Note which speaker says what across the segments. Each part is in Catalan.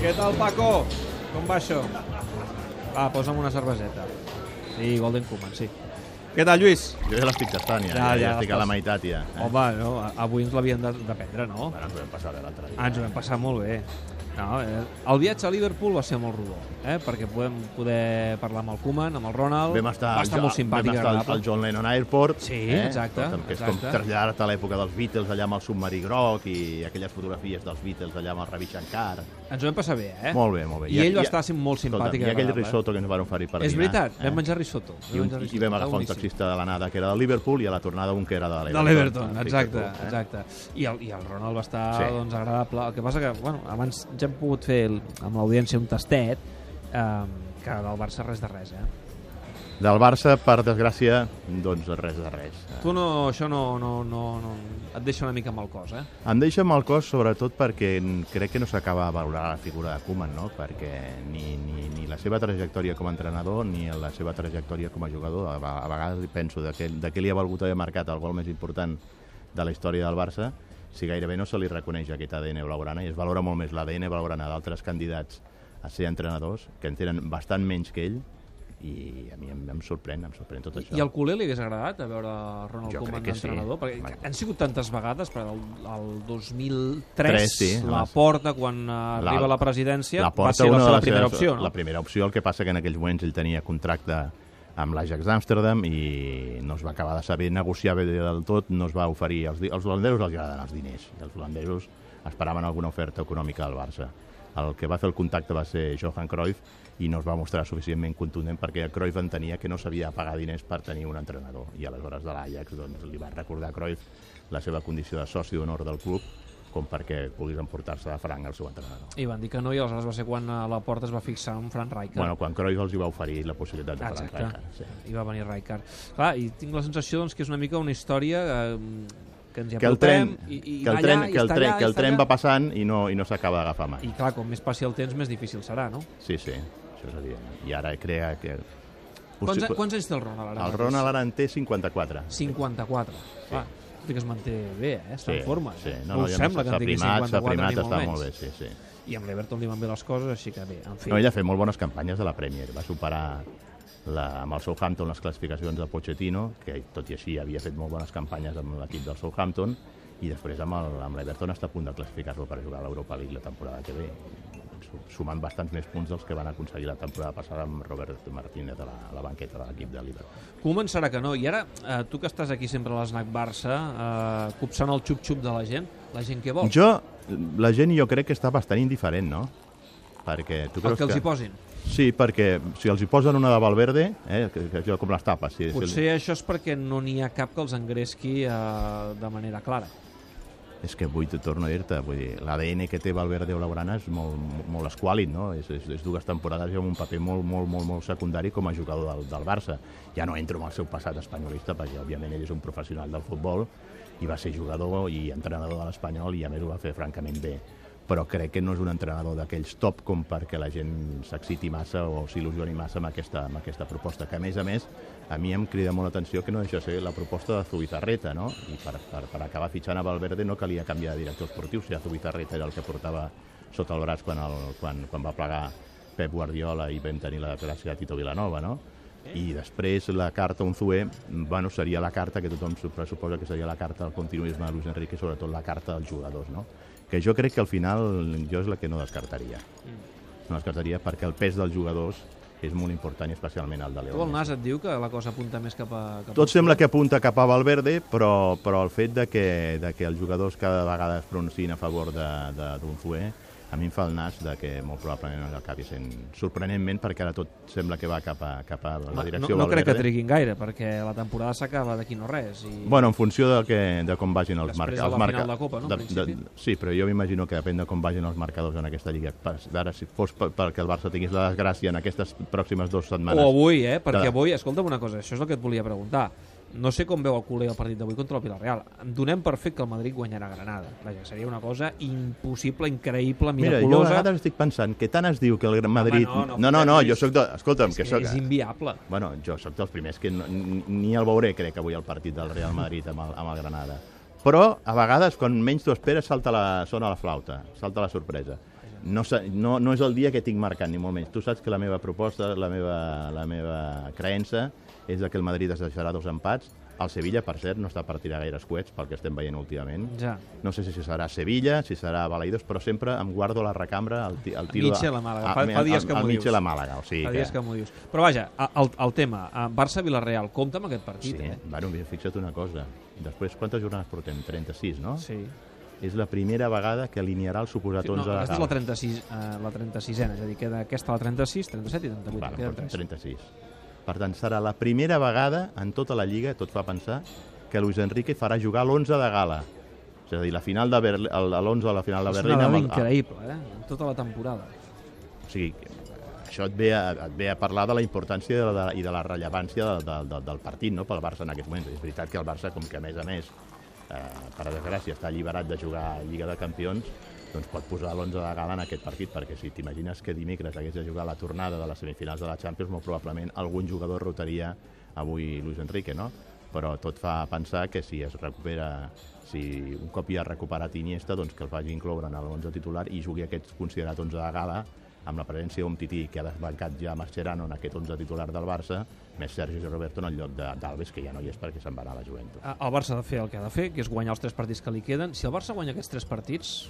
Speaker 1: Què tal, Paco? Com va això? Va, posa'm una cerveseta. Sí, Golden Koeman, sí. Què tal, Lluís?
Speaker 2: Jo ja l'estic tastant,
Speaker 1: Ja,
Speaker 2: ja. Ja, ja,
Speaker 1: ja, Oh.
Speaker 2: estic a
Speaker 1: pues-
Speaker 2: la meitat, ja. Eh?
Speaker 1: Home, no, avui ens l'havíem de, de prendre, no?
Speaker 2: Bueno, ens ho vam passar bé l'altre dia.
Speaker 1: Ah, ens ho vam passar molt bé. No, eh, el viatge a Liverpool va ser molt rodó, eh? perquè podem poder parlar amb el Koeman, amb el Ronald,
Speaker 2: Vam estar,
Speaker 1: va estar molt simpàtic.
Speaker 2: Vam estar al,
Speaker 1: agradable.
Speaker 2: al John Lennon Airport.
Speaker 1: Sí, exacte,
Speaker 2: Escolta'm, Que és com
Speaker 1: exacte.
Speaker 2: traslladar-te a l'època dels Beatles allà amb el submarí groc i aquelles fotografies dels Beatles allà amb el Ravi Shankar.
Speaker 1: Ens ho vam passar bé, eh?
Speaker 2: Molt bé, molt bé.
Speaker 1: I, ell va estar sim- molt simpàtic.
Speaker 2: Escolta'm, I aquell
Speaker 1: agradable, eh?
Speaker 2: risotto que ens van oferir per
Speaker 1: És
Speaker 2: dinar. eh?
Speaker 1: veritat, vam menjar risotto. vam
Speaker 2: I, un,
Speaker 1: menjar
Speaker 2: I
Speaker 1: risotto,
Speaker 2: vam
Speaker 1: està
Speaker 2: agafar un
Speaker 1: boníssim.
Speaker 2: taxista de l'anada que era de Liverpool i a la tornada un que era de
Speaker 1: de
Speaker 2: l'Everton.
Speaker 1: l'Everton,
Speaker 2: Ah,
Speaker 1: exacte,
Speaker 2: fixa't tu, eh?
Speaker 1: exacte. I el, I el Ronald va estar
Speaker 2: Sí.
Speaker 1: doncs, agradable. El que passa que, bueno, abans ja hem pogut fer el- amb l'audiència un tastet, eh, que del Barça res de res, eh?
Speaker 2: Del Barça, per desgràcia, doncs res de res. Eh?
Speaker 1: Tu no, això no, no, no, no, et deixa una mica amb el cos, eh?
Speaker 2: Em deixa amb el cos sobretot perquè n- crec que no s'acaba de valorar la figura de Koeman, no? perquè ni, ni, ni la seva trajectòria com a entrenador ni la seva trajectòria com a jugador, a, ve- a vegades hi penso de què, de què li ha valgut haver marcat el gol més important de la història del Barça, si gairebé no se li reconeix aquest ADN blaugrana i es valora molt més l'ADN blaugrana d'altres candidats a ser entrenadors que en tenen bastant menys que ell i a mi em, em sorprèn, em sorprèn tot això.
Speaker 1: I al culer li hagués agradat a veure Ronald
Speaker 2: Jo
Speaker 1: Koeman
Speaker 2: crec que sí.
Speaker 1: d'entrenador? Perquè
Speaker 2: Home.
Speaker 1: han sigut tantes vegades, però el, el 2003,
Speaker 2: Tres, sí,
Speaker 1: la
Speaker 2: les-
Speaker 1: porta, quan eh, arriba a la presidència,
Speaker 2: la porta,
Speaker 1: va ser la
Speaker 2: una de
Speaker 1: seva
Speaker 2: les
Speaker 1: primera
Speaker 2: seves-
Speaker 1: opció, no?
Speaker 2: La primera opció, el que passa que en aquells moments ell tenia contracte amb l'Ajax d'Amsterdam i no es va acabar de saber negociar bé del tot, no es va oferir... Els, di- als holandesos els agraden els diners, i els holandesos esperaven alguna oferta econòmica del Barça. El que va fer el contacte va ser Johan Cruyff i no es va mostrar suficientment contundent perquè el Cruyff entenia que no s'havia de pagar diners per tenir un entrenador i aleshores de l'Ajax doncs, li va recordar a Cruyff la seva condició de soci d'honor del club com perquè pogués emportar-se de franc el seu entrenador.
Speaker 1: I van dir que no, i aleshores va ser quan a la porta es va fixar en Fran Rijkaard.
Speaker 2: Bueno, quan Cruyff els hi va oferir la possibilitat de
Speaker 1: Ah,
Speaker 2: parar
Speaker 1: exacte.
Speaker 2: Rijkaard, sí.
Speaker 1: I va venir Rijkaard. Clar, i tinc la sensació doncs, que és una mica una història eh, que ens hi
Speaker 2: Que el
Speaker 1: apropem
Speaker 2: tren,
Speaker 1: i, i
Speaker 2: que el
Speaker 1: va
Speaker 2: tren,
Speaker 1: allà, i
Speaker 2: que el
Speaker 1: està
Speaker 2: tren,
Speaker 1: allà,
Speaker 2: que
Speaker 1: i
Speaker 2: el
Speaker 1: està
Speaker 2: tren
Speaker 1: allà.
Speaker 2: va passant i no, i no s'acaba d'agafar mai.
Speaker 1: I clar, com més passi el temps, més difícil serà, no?
Speaker 2: Sí, sí, això és evident. I ara crea que...
Speaker 1: Quants,
Speaker 2: Possi-
Speaker 1: quants anys té el Ronald ara?
Speaker 2: El
Speaker 1: mateix?
Speaker 2: Ronald ara en té 54.
Speaker 1: 54. Sí. Ah, tot i que es manté bé, eh? està en forma.
Speaker 2: Sí.
Speaker 1: eh?
Speaker 2: No, no,
Speaker 1: us
Speaker 2: ja
Speaker 1: sembla que
Speaker 2: s'ha
Speaker 1: en tingui
Speaker 2: primat,
Speaker 1: 54
Speaker 2: s'ha primat,
Speaker 1: ni molt
Speaker 2: està
Speaker 1: menys.
Speaker 2: molt bé, sí, sí.
Speaker 1: I amb l'Everton li van bé les coses, així que bé, en fi.
Speaker 2: No, ell ha fet molt bones campanyes de la Premier. Va superar la, amb el Southampton les classificacions de Pochettino, que tot i així havia fet molt bones campanyes amb l'equip del Southampton, i després amb el- amb l'Everton està a punt de classificar-lo per jugar a l'Europa League la temporada que ve, su- sumant bastants més punts dels que van aconseguir la temporada passada amb Robert Martínez a la, a la banqueta de l'equip de Liverpool.
Speaker 1: Començarà que no. I ara, eh, tu que estàs aquí sempre a l'esnac Barça, eh, copsant el xup-xup de la gent, la gent què vol?
Speaker 2: Jo, la gent jo crec que està bastant indiferent, no? Perquè tu
Speaker 1: el
Speaker 2: creus
Speaker 1: que els hi posin.
Speaker 2: Sí, perquè si els hi posen una de Valverde, eh, que, que, allò com les tapes... Si, si-
Speaker 1: Potser això és perquè no n'hi ha cap que els engresqui eh, de manera clara.
Speaker 2: És que avui te torno a dir-te, vull dir, l'ADN que té Valverde Blaugrana és molt, molt esquàlid, no? És, és, és dues temporades i amb un paper molt, molt, molt, molt secundari com a jugador del, del Barça. Ja no entro en el seu passat espanyolista, perquè òbviament ell és un professional del futbol i va ser jugador i entrenador de l'Espanyol i a més ho va fer francament bé però crec que no és un entrenador d'aquells top com perquè la gent s'exciti massa o s'il·lusioni massa amb aquesta, amb aquesta proposta, que a més a més a mi em crida molt l'atenció que no deixa de ser la proposta de Zubizarreta, no? I per, per, per acabar fitxant a Valverde no calia canviar de director esportiu, si a Zubizarreta era el que portava sota el braç quan, el, quan, quan va plegar Pep Guardiola i vam tenir la desgràcia de Tito Vilanova, no? I després la carta Unzué, bueno, seria la carta que tothom su- pressuposa que seria la carta del continuisme de Luis Enrique, sobretot la carta dels jugadors, no? Que jo crec que al final jo és la que no descartaria. No descartaria perquè el pes dels jugadors és molt important i especialment el de
Speaker 1: Tu el
Speaker 2: León.
Speaker 1: nas et diu que la cosa apunta més cap a... Cap
Speaker 2: Tot
Speaker 1: a...
Speaker 2: sembla que apunta cap a Valverde, però, però el fet de que, de que els jugadors cada vegada es pronunciïn a favor de- de- d'un fuer, a mi em fa el nas de que molt probablement acabi sent sorprenentment, perquè ara tot sembla que va cap a, cap a la
Speaker 1: Home, no,
Speaker 2: direcció
Speaker 1: no crec
Speaker 2: Valverde.
Speaker 1: que triguin gaire, perquè la temporada s'acaba d'aquí no res. I...
Speaker 2: Bueno, en funció de, que, de com vagin els
Speaker 1: Després de la
Speaker 2: marcadors. els
Speaker 1: final de Copa, no, en principi?
Speaker 2: sí, però jo m'imagino que depèn de com vagin els marcadors en aquesta lliga. Per- D'ara, si fos per- perquè el Barça tingués la desgràcia en aquestes pròximes dues setmanes...
Speaker 1: O avui, eh? Perquè
Speaker 2: Clar.
Speaker 1: avui, escolta'm una cosa, això és el que et volia preguntar. No sé com veu el culer el partit d'avui contra el Villarreal. Donem per fet que el Madrid guanyarà a Granada. Vaja, seria una cosa impossible, increïble,
Speaker 2: Mira, jo a
Speaker 1: miraculosa.
Speaker 2: vegades estic pensant que tant es diu que el Gran Madrid...
Speaker 1: no, no,
Speaker 2: no, no, no,
Speaker 1: Lluís.
Speaker 2: jo sóc... De... Escolta'm,
Speaker 1: és,
Speaker 2: que sóc... eh.
Speaker 1: és inviable.
Speaker 2: Bueno, jo sóc dels primers que no, ni ni el veuré, crec, avui el partit del Real Madrid amb el, amb el Granada. Però, a vegades, quan menys t'ho esperes, salta la, sona la flauta, salta la sorpresa. no, sa- no, no és el dia que tinc marcat, ni molt menys. Tu saps que la meva proposta, la meva, la meva creença, és de que el Madrid es deixarà dos empats. El Sevilla, per cert, no està per tirar gaires coets, pel que estem veient últimament.
Speaker 1: Ja.
Speaker 2: No sé si serà Sevilla, si serà Balaidos, però sempre em guardo la recambra al, ti- al tiro...
Speaker 1: Mitchell a Màlaga. Fa- fa dies que m'ho
Speaker 2: al, al
Speaker 1: dius.
Speaker 2: Mitchell a Màlaga, o sigui
Speaker 1: Fa
Speaker 2: que...
Speaker 1: dies que m'ho dius. Però vaja, a- el, el tema, eh, Barça-Villarreal, compta amb aquest
Speaker 2: Sí,
Speaker 1: partit, eh?
Speaker 2: bueno, mira, fixa't una cosa. Després, quantes jornades portem? 36, no?
Speaker 1: Sí.
Speaker 2: És la primera vegada que alinearà el suposat
Speaker 1: No,
Speaker 2: 11 de la
Speaker 1: aquesta és la
Speaker 2: taula.
Speaker 1: 36, eh, la 36ena, és a dir, queda aquesta la 36, 37 i 38,
Speaker 2: Vale,
Speaker 1: queden
Speaker 2: portem
Speaker 1: 3.
Speaker 2: 36. Per tant, serà la primera vegada en tota la Lliga, tot fa pensar, que Luis Enrique farà jugar l'11 de gala. És a dir, la final de Berlín, l'11 a la final de
Speaker 1: És
Speaker 2: Berlín...
Speaker 1: una dada
Speaker 2: amb el-
Speaker 1: increïble, eh? En tota la temporada.
Speaker 2: O sigui, això et ve a, et ve a parlar de la importància de, de, i de la rellevància de, de, de, del partit no? pel Barça en aquests moments. És veritat que el Barça, com que a més a més, eh, per desgràcia, està alliberat de jugar a Lliga de Campions, doncs pot posar l'11 de gala en aquest partit, perquè si t'imagines que dimecres hagués de jugar la tornada de les semifinals de la Champions, molt probablement algun jugador rotaria avui Luis Enrique, no? Però tot fa pensar que si es recupera si un cop ja ha recuperat Iniesta, doncs que el vagi incloure en l'11 titular i jugui aquest considerat 11 de gala amb la presència d'un tití que ha desbancat ja Mascherano en aquest 11 titular del Barça, més Sergio Roberto en el lloc de- d'Alves, que ja no hi és perquè se'n va anar a la Juventus.
Speaker 1: Eh, El Barça ha de fer el que ha de fer, que és guanyar els tres partits que li queden. Si el Barça guanya aquests tres partits,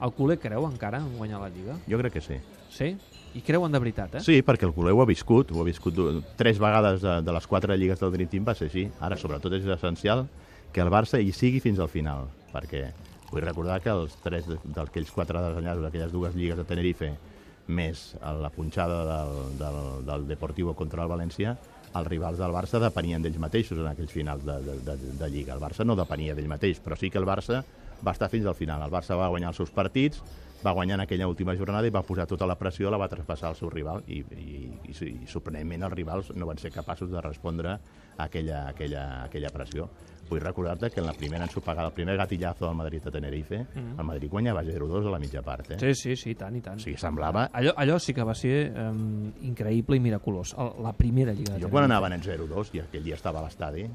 Speaker 1: el culer creu encara en guanyar la Lliga?
Speaker 2: Jo crec que sí.
Speaker 1: Sí? I creuen de veritat, eh?
Speaker 2: Sí, perquè el culer ho ha viscut, ho ha viscut du- tres vegades de, de les quatre lligues del Dream Team va ser així. Ara, sobretot, és essencial que el Barça hi sigui fins al final, perquè vull recordar que els tres de- d'aquells quatre desenllaços d'aquelles dues lligues de Tenerife més la punxada del, del, del Deportivo contra el València, els rivals del Barça depenien d'ells mateixos en aquells finals de, de, de, de Lliga. El Barça no depenia d'ell mateix, però sí que el Barça va estar fins al final. El Barça va guanyar els seus partits, va guanyar en aquella última jornada i va posar tota la pressió, la va traspassar al seu rival i, i, i, i sorprenentment els rivals no van ser capaços de respondre a aquella, aquella, aquella pressió. Vull recordar-te que en la primera ensopegada, el primer gatillazo del Madrid a Tenerife, el Madrid guanyava 0-2 a la mitja part. Eh?
Speaker 1: Sí, sí, sí, i tant, i tant.
Speaker 2: O sigui, semblava...
Speaker 1: Allò, allò sí que va ser um, increïble i miraculós, el, la primera Lliga de
Speaker 2: Jo
Speaker 1: Tenerife.
Speaker 2: quan anaven en 0-2 i aquell dia estava a l'estadi,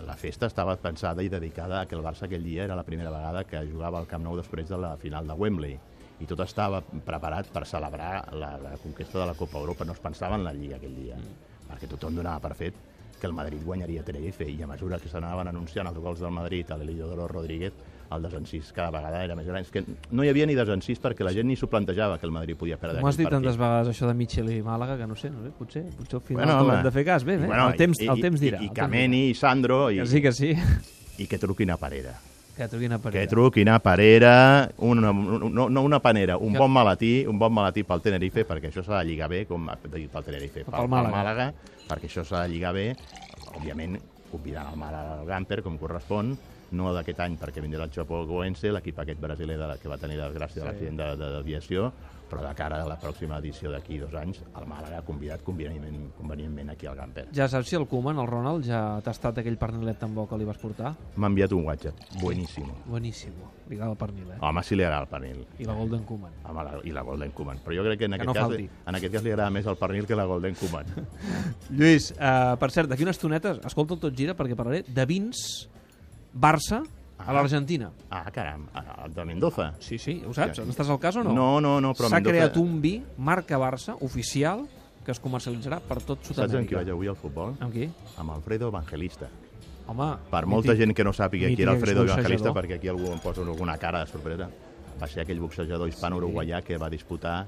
Speaker 2: la festa estava pensada i dedicada a que el Barça aquell dia era la primera vegada que jugava al Camp Nou després de la final de Wembley i tot estava preparat per celebrar la, la conquesta de la Copa Europa. No es pensava en la Lliga aquell dia, mm. perquè tothom donava per fet que el Madrid guanyaria a Tenerife i a mesura que s'anaven anunciant els gols del Madrid a l'Elidoro Rodríguez, el desencís cada vegada era més gran. És que no hi havia ni desencís perquè la gent ni s'ho plantejava que el Madrid podia perdre
Speaker 1: M'ho has
Speaker 2: aquest
Speaker 1: dit
Speaker 2: partit.
Speaker 1: tantes vegades això de Mitchell i Màlaga que no sé, no sé potser, potser al final
Speaker 2: Bueno,
Speaker 1: bueno,
Speaker 2: home.
Speaker 1: de fer cas. Bé, bé, bueno, el, temps, el temps dirà.
Speaker 2: I,
Speaker 1: el
Speaker 2: i
Speaker 1: temps
Speaker 2: Cameni, i Sandro, i,
Speaker 1: dirà. Que sí, que sí.
Speaker 2: i que truquin a Parera.
Speaker 1: Que truquin a
Speaker 2: Que
Speaker 1: Parera.
Speaker 2: truquin a Parera, una, un- no, no una panera, un
Speaker 1: Que-
Speaker 2: bon malatí, un bon malatí pel Tenerife, perquè això s'ha de lligar bé, com pel Tenerife, pel,
Speaker 1: Pel Màlaga.
Speaker 2: Màlaga, perquè això s'ha de lligar bé, òbviament, convidant el Màlaga al Gamper, com correspon, no d'aquest any, perquè vindrà el Chapo Goense, l'equip aquest brasiler de, que va tenir la desgràcia sí. de l'accident de, de, d'aviació, però de cara a la pròxima edició d'aquí dos anys, el Màlaga ha convidat convenientment, convenientment aquí al Gamper.
Speaker 1: Ja saps si el Koeman, el Ronald, ja ha tastat aquell pernilet tan bo que li vas portar?
Speaker 2: M'ha enviat un WhatsApp. Buenísimo.
Speaker 1: Bueníssimo. Li agrada el pernil, eh?
Speaker 2: Home, sí li agrada el pernil.
Speaker 1: I la Golden Koeman.
Speaker 2: Home, la, I la Golden Koeman. Però jo crec que en,
Speaker 1: Que
Speaker 2: aquest,
Speaker 1: no
Speaker 2: cas,
Speaker 1: falti.
Speaker 2: en aquest cas li agrada més el pernil que la Golden Koeman.
Speaker 1: Lluís, eh, per cert, d'aquí unes tonetes, escolta el Tot Gira perquè parlaré de vins Barça a
Speaker 2: Ah.
Speaker 1: l'Argentina.
Speaker 2: ah, caram, ah, el de Mendoza.
Speaker 1: Sí, sí, ho saps? N'estàs al cas o no?
Speaker 2: No, no, no, però
Speaker 1: S'ha
Speaker 2: Mendoza-
Speaker 1: creat un vi, marca Barça, oficial, que es comercialitzarà per tot
Speaker 2: Saps amb qui
Speaker 1: Sud-amèrica.
Speaker 2: vaig avui al futbol?
Speaker 1: Amb qui?
Speaker 2: Amb Alfredo Evangelista.
Speaker 1: Home,
Speaker 2: Per molta
Speaker 1: mític.
Speaker 2: gent que no sàpiga qui era
Speaker 1: mític
Speaker 2: Alfredo Evangelista,
Speaker 1: exboxejador.
Speaker 2: perquè aquí algú em posa alguna cara de sorpresa, va ser aquell boxejador hispano-uruguaià que va disputar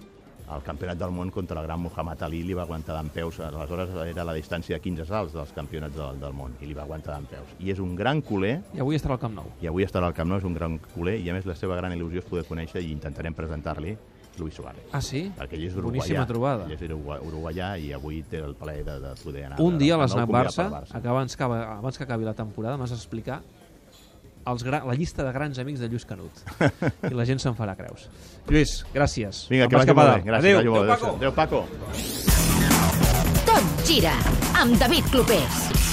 Speaker 2: el campionat del món contra el gran Muhammad Ali li va aguantar d'en peus, aleshores era la distància de 15 salts dels campionats del, del món i li va aguantar d'en peus. I és un gran culer
Speaker 1: I avui estarà al Camp Nou.
Speaker 2: i avui estarà al Camp Nou, és un gran culer, i a més la seva gran il·lusió és poder conèixer i intentarem presentar-li Luis Suárez.
Speaker 1: Ah, sí?
Speaker 2: Perquè ell és uruguaià.
Speaker 1: Boníssima trobada.
Speaker 2: Ell és urugua- uruguaià i avui té el plaer de, de poder anar.
Speaker 1: Un dia a
Speaker 2: al Camp
Speaker 1: l'Snack
Speaker 2: Nou convidat
Speaker 1: Barça,
Speaker 2: pel
Speaker 1: que abans que, abans que acabi la temporada, m'has d'explicar els gra... la llista de grans amics de Lluís Canut. I la gent se'n farà creus. Lluís, gràcies.
Speaker 2: Vinga,
Speaker 1: Em
Speaker 2: que
Speaker 1: vaig
Speaker 2: vagi
Speaker 1: cap a
Speaker 2: molt bé.
Speaker 1: dalt.
Speaker 2: Gràcies,
Speaker 1: Adéu.
Speaker 2: vagi molt bé.
Speaker 1: Adéu, Paco.
Speaker 2: Adéu, Paco.
Speaker 3: Tot gira amb David Clopés.